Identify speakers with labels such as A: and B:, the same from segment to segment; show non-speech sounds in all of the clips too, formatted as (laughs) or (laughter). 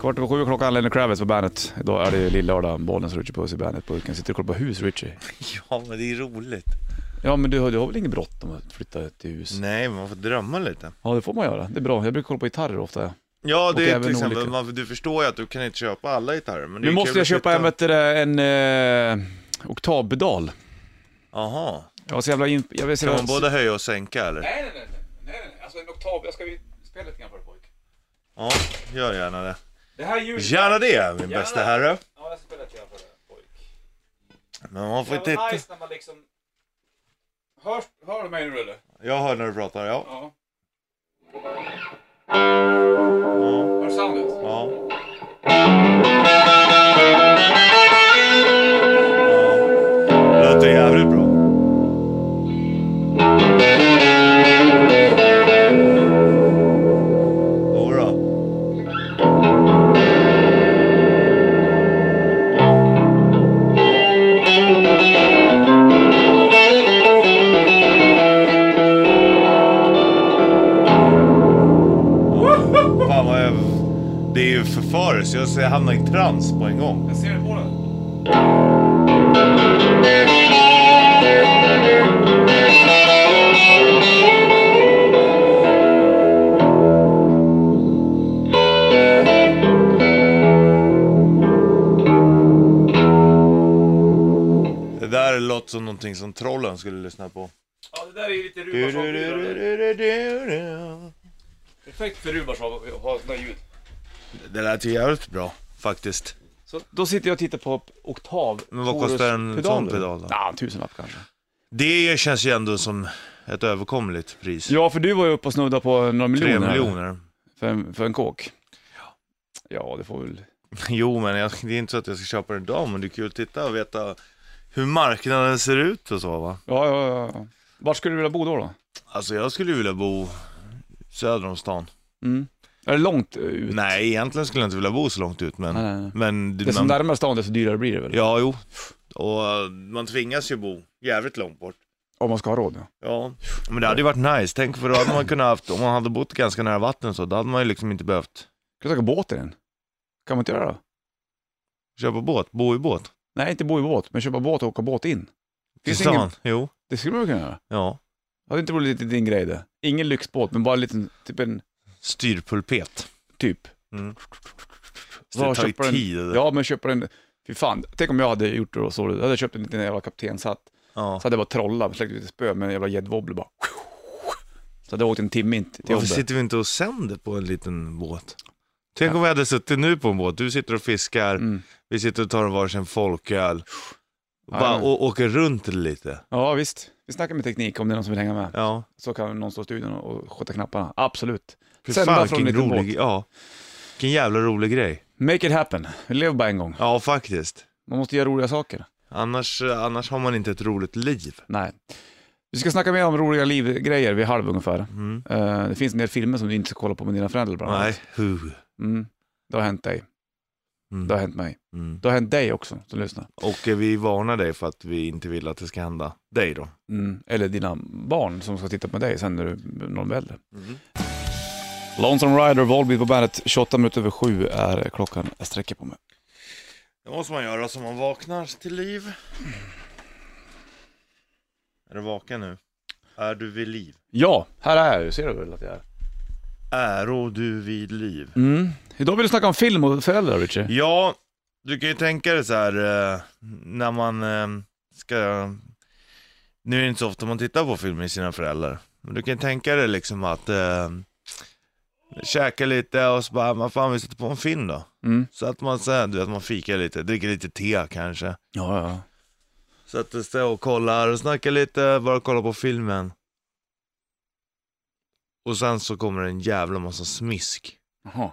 A: Kvart över sju klockan, Lenny Kravitz på bandet. Idag är det ju lill-lördag, Bollnäs Richie Puss i bandet-burken. Sitter och kollar på hus Richie?
B: (laughs) Ja, men det är roligt.
A: Ja men du, har- du har väl inget bråttom att flytta till hus?
B: Nej, man får drömma lite.
A: Ja det får man göra, det är bra. Jag brukar kolla på gitarrer ofta. Ja.
B: Ja,
A: Och
B: det är
A: även
B: till exempel,
A: olika.
B: man, du förstår ju att du kan inte köpa alla gitarrer. Men det är
A: Nu
B: ju
A: måste
B: kul
A: jag
B: att
A: köpa en,
B: sitta-
A: vet du, det, en eh, oktavpedal.
B: Jaha.
A: Jag var så jävla in... Jag var så
B: Kan
A: jävla...
B: man både höja och sänka eller?
A: Nej, nej, nej, nej, nej, nej. Alltså en oktav, jag ska ju spela lite grann för dig pojk.
B: Ja, gör gärna det.
A: Det här ljudet...
B: Gärna det, min
A: Gärna.
B: bästa herre.
A: Ja, jag ska spela lite grann för dig pojk.
B: Men man får
A: Det
B: titta.
A: var nice när man liksom... Hörs, hör du mig nu eller?
B: Jag hör när du pratar, ja.
A: Ja.
B: Ja.
A: Hör soundet?
B: ja. ja. Låter jävligt bra. Jodå. Fan vad jag... Det är ju förföriskt. Jag ser- jag hamnar i trans på en gång.
A: Jag ser det på den.
B: Det där låter som någonting som trollen skulle lyssna på.
A: Ja, det där är ju lite Rubars Perfekt för Rubars att ha sådana ljud.
B: Det lät ju jävligt bra faktiskt.
A: Så då sitter jag och tittar på oktav
B: Men vad kostar en
A: Chorus-
B: sån
A: pedaler.
B: pedal då?
A: Ja, en tusenlapp kanske.
B: Det känns ju ändå som ett överkomligt pris.
A: Ja, för du var ju uppe och snudda på några miljoner.
B: Tre
A: här.
B: miljoner. (laughs)
A: För en, för en kåk. Ja, det får väl...
B: Jo, men jag, det är inte så att jag ska köpa den idag, men det är kul att titta och veta hur marknaden ser ut och så va.
A: Ja, ja, ja, ja. Var skulle du vilja bo då? då?
B: Alltså jag skulle vilja bo söder om stan.
A: Mm. Är det långt eh, ut?
B: Nej, egentligen skulle jag inte vilja bo så långt ut, men...
A: Nej, nej, nej.
B: men
A: Det är som
B: man,
A: närmare stan, desto dyrare blir det väl?
B: Ja, jo. Och eh, man tvingas ju bo jävligt långt bort.
A: Om man ska ha råd, ja.
B: Ja, men det hade ju varit nice. Tänk för då hade man kunnat haft, om man hade bott ganska nära vatten så, då hade man ju liksom inte behövt
A: Kan du söka båt i den? Kan man inte göra det?
B: köpa båt, bo i båt.
A: Nej, inte bo i båt, men köpa båt och åka båt in.
B: Till
A: Finns det, ingen...
B: stan. Jo,
A: det skulle man väl kunna göra?
B: ja.
A: Hade inte varit lite din grej det? Ingen lyxbåt, men bara en liten, typ en,
B: Styrpulpet.
A: typ.
B: Mm. Så
A: Var
B: det tar ju
A: köper den?
B: tid. det där.
A: Ja, men köpa en, fy fan. Tänk om jag hade gjort det då, så, jag hade köpt en liten jävla kaptenshatt.
B: ja.
A: Så hade jag bara trollat, släckt ut ett spö med en jävla gäddwobbler bara. Så hade jag åkt en timme in till
B: Varför
A: jobbet.
B: sitter vi inte och sänder på en liten båt? Tänk om vi hade suttit nu på en båt, du sitter och fiskar,
A: Mm.
B: vi sitter och tar en varsin folköl. Och
A: Ja,
B: Bara,
A: ja.
B: och åker runt lite.
A: Ja, visst. Vi snackar med teknik om det är någon som vill hänga med.
B: Ja.
A: Så kan någon stå i studion och sköta knapparna. Absolut.
B: Fy
A: Sända
B: fan,
A: från en
B: vilken
A: liten
B: rolig,
A: båt.
B: ja. Vilken jävla rolig grej.
A: Make it happen. Vi lever bara en gång.
B: Ja, faktiskt.
A: Man måste göra roliga saker.
B: Annars, eh, annars har man inte ett roligt liv.
A: Nej. Vi ska snacka mer om roliga livgrejer vid halv ungefär. Eh, det finns en del filmer som du inte ska kolla på med dina föräldrar bland annat.
B: Mm. Nej, hu.
A: Mm. Det har hänt dig.
B: Mm.
A: Det har hänt mig.
B: Mm.
A: Det har hänt dig också som lyssnar.
B: Och eh, vi varnar dig för att vi inte vill att det ska hända dig då.
A: Mm. Eller dina barn som ska titta på dig sen när du när de blir äldre.
B: Mm.
A: Lonesome Rider, Volbeat på bandet. 28 minuter över sju är klockan. Jag sträcker på mig.
B: Det måste man göra så man vaknar till liv. Är du vaken nu? Är du vid liv?
A: Ja, här är jag ju. Ser du väl att jag är?
B: Är du vid liv?
A: Mm. Idag vill du snacka om film och föräldrar, Richie.
B: Ja, du kan ju tänka dig så här eh, när man eh, ska... Nu är det inte så ofta man tittar på film med sina föräldrar. Men du kan ju tänka dig liksom att eh, käka lite och så bara, vad fan vi sätter på en film då.
A: Mm.
B: Så att man så här, du vet, man fikar lite, dricker lite te kanske.
A: Ja, ja.
B: Sätter sig och kollar och snackar lite, bara kollar på filmen. Och sen så kommer det en jävla massa smisk.
A: Jaha,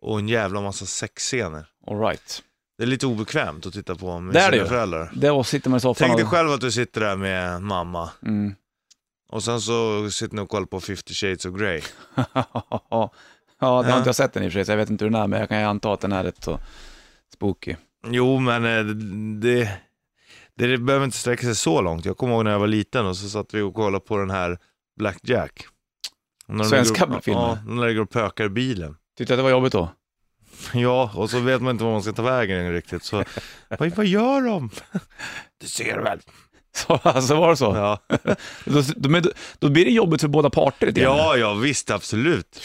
B: Och en jävla massa sexscener.
A: alright.
B: Det är lite obekvämt att titta på med
A: Det är
B: sina
A: det ju.
B: föräldrar.
A: Då sitter man i soffan
B: Tänk dig
A: och-
B: själv att du sitter där med mamma.
A: Mm. (laughs)
B: Och sen så sitter ni och kollar på 50 shades of Grey.
A: ja, det har inte jag sett den i och för sig, så jag vet inte hur den är, men jag kan ju anta att den är rätt så spooky.
B: Jo, men eh, det, det, det behöver inte sträcka sig så långt. Jag kommer ihåg när jag var liten och så satt vi och kollade på den här Black Jack. Och när de
A: Svenska
B: ligger och-
A: filmer?
B: Ja, när de ligger och pökar i bilen. (laughs)
A: Tyckte att det var jobbigt då? (laughs)
B: Ja, och så vet man inte vad man ska ta vägen
A: (laughs)
B: riktigt. Så vad, vad gör de? Du ser väl.
A: Så, alltså var det så?
B: Ja,
A: Då, då, men då- då blir det jobbigt för båda parter lite grann.
B: ja, ja visst absolut.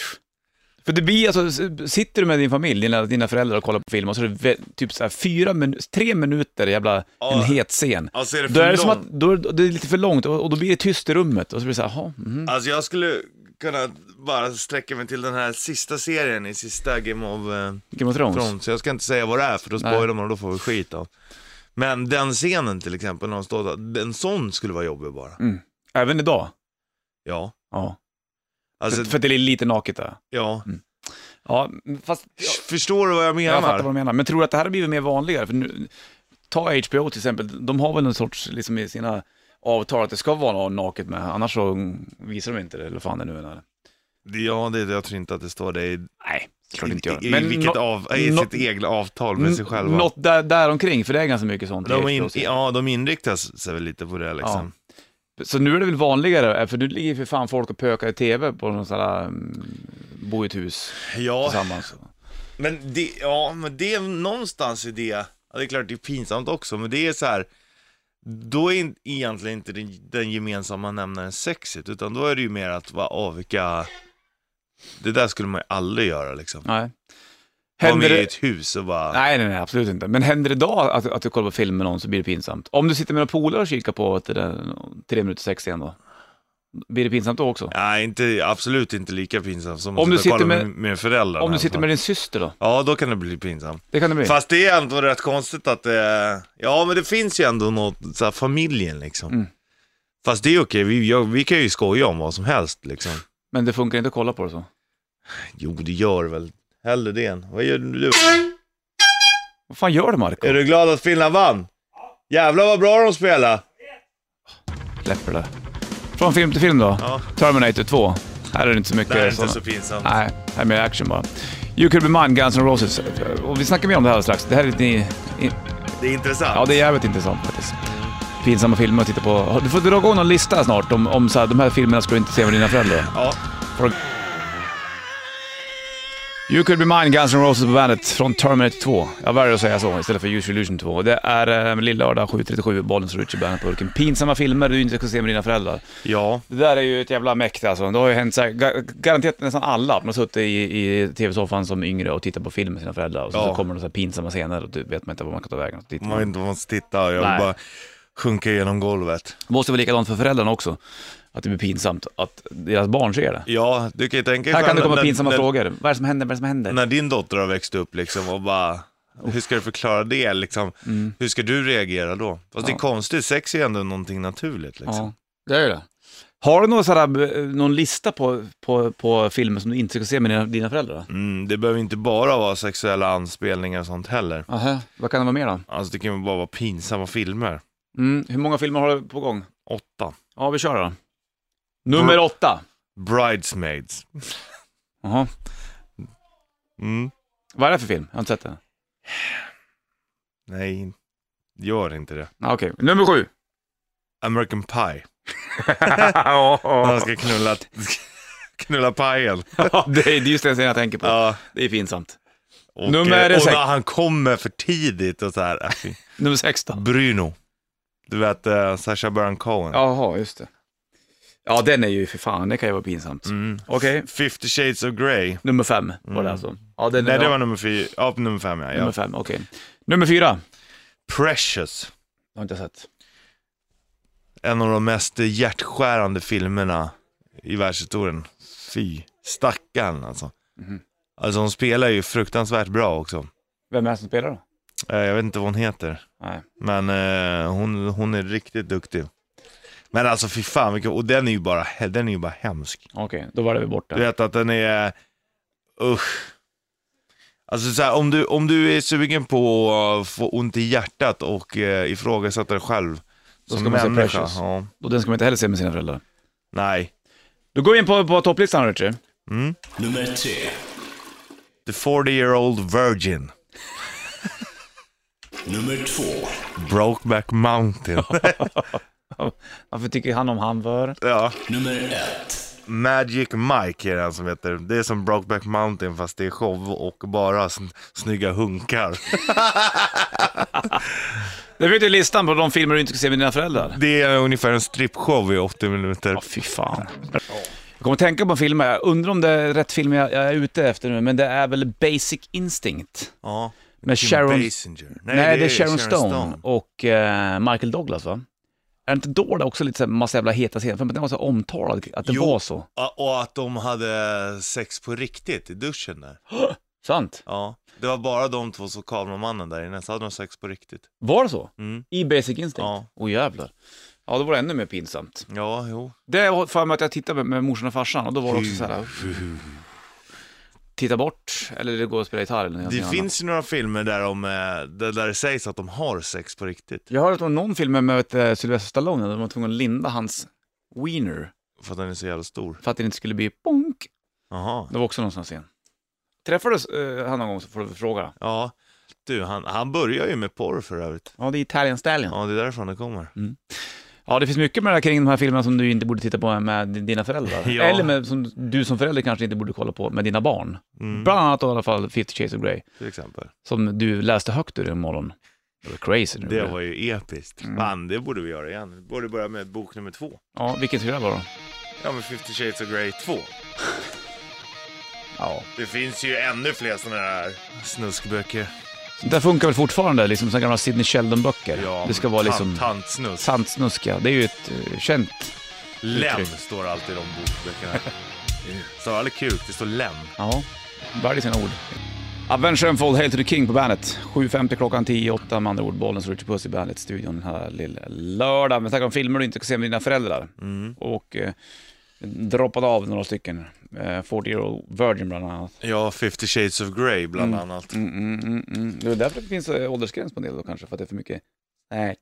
A: För det blir alltså, s- sitter du med din familj, dina, dina föräldrar och kollar på film och så är det vä- typ så här fyra minu- tre minuter jävla,
B: Ja.
A: en het scen.
B: Alltså är det
A: Då
B: för
A: är det som
B: långt?
A: att, då är det, det är lite för långt och, och då blir det tyst i rummet och så blir det så här, jaha, mhm.
B: Alltså jag skulle kunna bara sträcka mig till den här sista serien i sista Game of eh,
A: Game of Thrones.
B: Thrones. Så jag ska inte säga vad det är för då
A: Nej.
B: spoilar man och då får vi skit av. Men den scenen till exempel, när de står där, en sån skulle vara jobbig bara.
A: Även idag.
B: Ja.
A: Ja.
B: Alltså,
A: för, för att det är lite naket där.
B: ja.
A: Ja, fast
B: Förstår du vad jag menar?
A: jag, fattar vad du menar. Men tror du att det här har blivit mer vanligare? För nu, ta HBO till exempel, de har väl någon sorts, liksom i sina avtal att det ska vara något naket med, annars så visar de inte det, eller vad fan det nu är.
B: Ja, det, jag tror inte att det står det i,
A: Nej, klart inte gör.
B: i, i, vilket
A: no-
B: av, i
A: nå-
B: sitt eget avtal med sig själva.
A: Något där, där omkring för det är ganska mycket sånt. i
B: de, in,
A: HBO.
B: ja, de inriktar sig väl lite på det liksom.
A: Så nu är det väl vanligare, eh, för nu ligger ju för fan folk och pökar i tv på någon sån här, mm, bor i ett hus
B: Ja,
A: tillsammans.
B: Men det, ja, men det är någonstans i det, ja, det är klart det är pinsamt också, men det är så här. Då är in- egentligen inte den, den gemensamma nämnaren sexigt, utan då är det ju mer att, va, åh vilka... Det där skulle man ju aldrig göra liksom.
A: Nej.
B: Händer
A: Händer
B: Vara med i
A: det...
B: ett hus och bara...
A: Nej, nej, nej, absolut inte. Men händer det idag att, att du kollar på film med någon så blir det pinsamt. Om du sitter med några polare och kikar på till den, tre minuter sex igen då, blir det pinsamt då också?
B: Nej, inte, absolut inte lika pinsamt som
A: Om
B: att
A: du
B: sitta och
A: sitter
B: kolla
A: med-
B: med, med föräldrarna.
A: Om du
B: alltså.
A: sitter med din syster då?
B: Ja, då kan det bli pinsamt.
A: Det kan det bli.
B: Fast det är ändå rätt konstigt att det... Ja, men det finns ju ändå något, så här, familjen liksom.
A: Mm.
B: Fast det är okej, vi, jag, vi kan ju skoja om vad som helst liksom.
A: Men det funkar inte att kolla på det så.
B: Jo, det gör väl. Hellre det än. Vad gör du?
A: Vad fan gör du Marco?
B: Är du glad att Finland vann? Jävlar vad bra de spelar.
A: Släpper det. Från film till film då.
B: Ja.
A: Terminator 2. Här är det inte så mycket
B: Det är inte
A: sådana.
B: så pinsamt.
A: Nej, här är mer action bara. You Could Be Mine, Guns N' Roses. Och vi snackar mer om det här strax. Det här är lite... i-
B: Det är intressant.
A: Ja, det är jävligt intressant faktiskt. Pinsamma filmer att titta på. Du får dra igång någon lista snart om, om så här, de här filmerna ska du inte se med dina föräldrar.
B: Ja.
A: You Could Be Mine, Guns N' Roses på bandet från Terminator 2. Jag väljer att säga så istället för Use Your Illusion 2. Det är eh, lillördag 7.37, Bollnäs och Richie bandet på Urken. Pinsamma filmer du inte ska se med dina föräldrar.
B: ja.
A: Det där är ju ett jävla mäkt alltså. Det har ju hänt så här, ga- garanterat nästan alla, att man har suttit i, i tv-soffan som yngre och tittat på film med sina föräldrar och så,
B: Ja.
A: så kommer det så här pinsamma scener och du vet man inte vad man kan ta vägen. Dit.
B: Man vet inte vad man ska titta. Jag
A: Nej.
B: vill bara sjunka genom golvet.
A: Det måste vara likadant för föräldrarna också, att det blir pinsamt att deras barn ser det.
B: Ja, du kan ju tänka
A: Här kan det komma
B: när-
A: pinsamma
B: när,
A: frågor. Vad är det som händer? Vad är det som händer?
B: (laughs) När din dotter har växt upp liksom och bara... Hur ska du förklara det liksom? Hur ska du reagera då? Fast det är
A: Mm. Ja.
B: konstigt, sex är ju ändå någonting naturligt liksom.
A: det är det. Har du någon, sån här, eh, någon lista på, på, på filmer som du inte ska se med dina, dina föräldrar?
B: Mm, det behöver inte bara vara sexuella anspelningar och sånt heller.
A: Aha. Vad kan det vara mer då?
B: Alltså det kan ju bara vara pinsamma filmer.
A: Mm. Hur många filmer har du på gång?
B: Åtta.
A: Ja, vi kör då. Nummer åtta.
B: Bridesmaids.
A: Aha.
B: Mm.
A: Vad är det för film? Jag har inte sett den.
B: Nej, gör inte det.
A: Ah, Okej, nummer sju.
B: (laughs)
A: (laughs)
B: American Pie. När han ska knulla, (laughs) knulla pajen.
A: Ja, det är just den scenen jag tänker på.
B: Ja.
A: Det är pinsamt.
B: Och,
A: Nummer
B: eh, och
A: sex.
B: när han kommer för tidigt och så här. äh, fy.
A: Nummer sex då?
B: Bruno. Du vet uh, Sacha Baron Cohen.
A: Jaha, just det. Ja, den är ju för fan, det kan ju vara pinsamt.
B: Mm.
A: Okej,
B: Fifty Shades of Grey.
A: nummer fem var det alltså. Ja, den är,
B: Nej, det var nummer fyra. Ja, nummer fem ja.
A: nummer
B: ja.
A: fem, okej. Nummer fyra.
B: Precious.
A: har inte sett.
B: En av de mest hjärtskärande filmerna i världshistorien. Fy, stackarn alltså.
A: Mhm.
B: Alltså hon spelar ju fruktansvärt bra också.
A: Vem är det som spelar då?
B: Eh, Jag vet inte vad hon heter,
A: Nej.
B: men eh, hon, hon är riktigt duktig. Men alltså fy fan, vilken, och den är ju bara, he- den är ju bara hemsk.
A: Okej, då var det vi borta.
B: Du vet att den är, usch. Alltså så här, om, du, om du är sugen på att få ont i hjärtat och eh, ifrågasätta dig själv
A: Då
B: som
A: ska man se
B: människa.
A: Precious.
B: ja.
A: Och den ska man inte heller se med sina föräldrar.
B: Nej.
A: Då går vi in på, på topplistan Richie.
B: Mm.
C: Nummer tre.
B: The 40 year old virgin.
C: Nummer två.
A: (laughs)
B: Brokeback Mountain.
A: Varför tycker han om han för?
B: ja.
C: Nummer ett.
B: Magic Mike är den som heter. Det är som Brokeback Mountain fast det är show och bara sn- snygga
A: (laughs)
B: hunkar.
A: Det fick du listan på de filmer du inte ska se med dina föräldrar.
B: Det är ungefär en strippshow i 80 minuter.
A: Ja, fy fan. Jag kommer att tänka på en film, här. jag undrar om det är rätt film jag, jag är ute efter nu, men det är väl Basic Instinct?
B: Ja.
A: Med Sharon... Nej,
B: Basinger. Nej,
A: det är Sharon Stone, och eh, Michael Douglas va? Är det inte då det också lite så här massa jävla heta scener? För den var så omtalad, att det
B: Jo.
A: var så.
B: Ja, Och att de hade sex på riktigt i duschen där.
A: Sant?
B: Ja. Det var bara de två som kameramannen där inne, så hade de sex på riktigt.
A: Var det så?
B: Mm.
A: I Basic Instinct? Åh
B: Ja.
A: jävlar. Ja, då var det ännu mer pinsamt.
B: Ja, jo.
A: Det var för mig att jag tittade med, med morsan och farsan och då var det också så här. Titta bort, eller det går och spela gitarr eller någonting
B: Det
A: annat.
B: finns ju några filmer där, de, eh, där där det sägs att de har sex på riktigt.
A: Jag hörde att det var någon film med vet, eh, Sylvester Stallone där de var tvungna att linda hans wiener
B: För att den är så jävla stor.
A: för att det inte skulle bli bonk.
B: Jaha.
A: Det var också någon sån scen. Träffades eh, han någon gång så får du fråga.
B: Ja. Du, han, han börjar ju med porr för övrigt.
A: Ja, det är Italian Stallion. Ja.
B: Ja, det är därifrån det kommer.
A: det finns mycket med det här kring de här filmerna som du inte borde titta på med dina föräldrar.
B: Ja.
A: Eller med, som du som förälder kanske inte borde kolla på med dina barn.
B: Mm,
A: Bland annat i alla fall 50 Shades of Grey,
B: till exempel.
A: som du läste högt ur en morgon. Det var crazy.
B: Det var ju episkt. Fan, det borde vi göra igen. Vi borde börja med bok nummer två.
A: Ja, vilken skulle det vara då?
B: Ja, men 50 Shades of Grey 2.
A: Ja.
B: Det finns ju ännu fler sådana här snuskböcker.
A: Det funkar väl fortfarande, liksom såna gamla Sidney Sheldon-böcker.
B: Ja,
A: det ska vara
B: tant-
A: liksom...
B: Tantsnusk.
A: Sandsnuska, det är ju ett eh, känt...
B: Lem
A: uttryck.
B: står alltid i de bokböckerna. Står aldrig kuk, det står lem.
A: Ja, varje sina ord. Avenge Unfold, Hail to the King på bandet. 7.50 klockan 10, 8 med andra ord. Bollens Richard Puss i bandet-studion den här lilla lördagen. Vi snackar om filmer du inte ska se med dina föräldrar.
B: Mm.
A: Och eh, droppade av några stycken. Eh, 40 year old virgin bland annat.
B: Ja, 50 shades of Grey bland annat.
A: Mm, mm, mm, mm. Det är därför det finns eh, åldersgräns på en del då kanske, för att det är för mycket sex.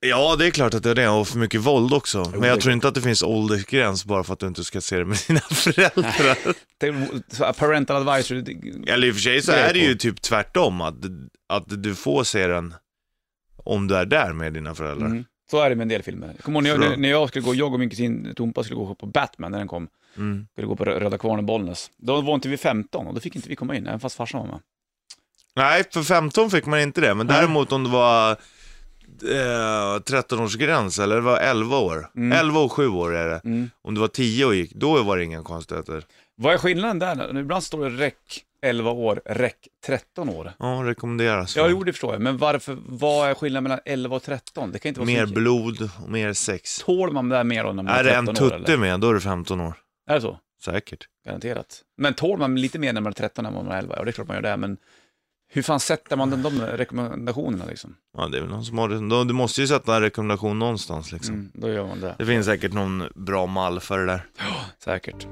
B: Ja, det är klart att det är det, och för mycket våld också. Men jag
A: det-
B: tror inte att det finns åldersgräns bara för att du inte ska se det med dina (laughs) föräldrar.
A: Det är så- Parental advisory. det-
B: Eller i och för sig så
A: Det är
B: är det ju typ tvärtom, att, att du får se den om du är där med dina föräldrar.
A: Mm. Så är det med en del filmer. Kommer ihåg när jag-
B: Bra.
A: när, när jag skulle gå, jag och min kusin Tompa skulle gå på Batman när den kom.
B: Mm.
A: skulle gå på Rö- Röda Kvarnen i Bollnäs. Då var inte vi 15 och då fick inte vi komma in, även fast farsan var med.
B: Nej, för 15 fick man inte det, men
A: Nej.
B: däremot om det var eh, 13-årsgräns, eller det var 11 år.
A: Mm.
B: 11 och 7 år är det.
A: Mm.
B: Om det var 10 och gick, då var det inga konstigheter.
A: Vad är skillnaden där? Nu Ibland står det räck 11 år, räck 13 år.
B: Ja, rekommenderas.
A: Ja, jo det förstår jag, men varför, vad är skillnaden mellan 11 och 13? Det kan inte vara
B: mer
A: så
B: blod och mer sex.
A: Tål man det där mer då när man är,
B: Är det en
A: 13 år?
B: tutte
A: Eller?
B: med, då är det 15 år.
A: Är det så?
B: Säkert.
A: Garanterat. Men tål man lite mer när man är 13 än när man är 11? Ja, det är klart man gör det, men hur fan sätter man de, de rekommendationerna liksom?
B: Ja, det är väl någon som har det. Då- Du måste ju sätta en rekommendation någonstans liksom.
A: Mm, då gör Mm, man det.
B: Det finns säkert någon bra mall för det där.
A: Säkert.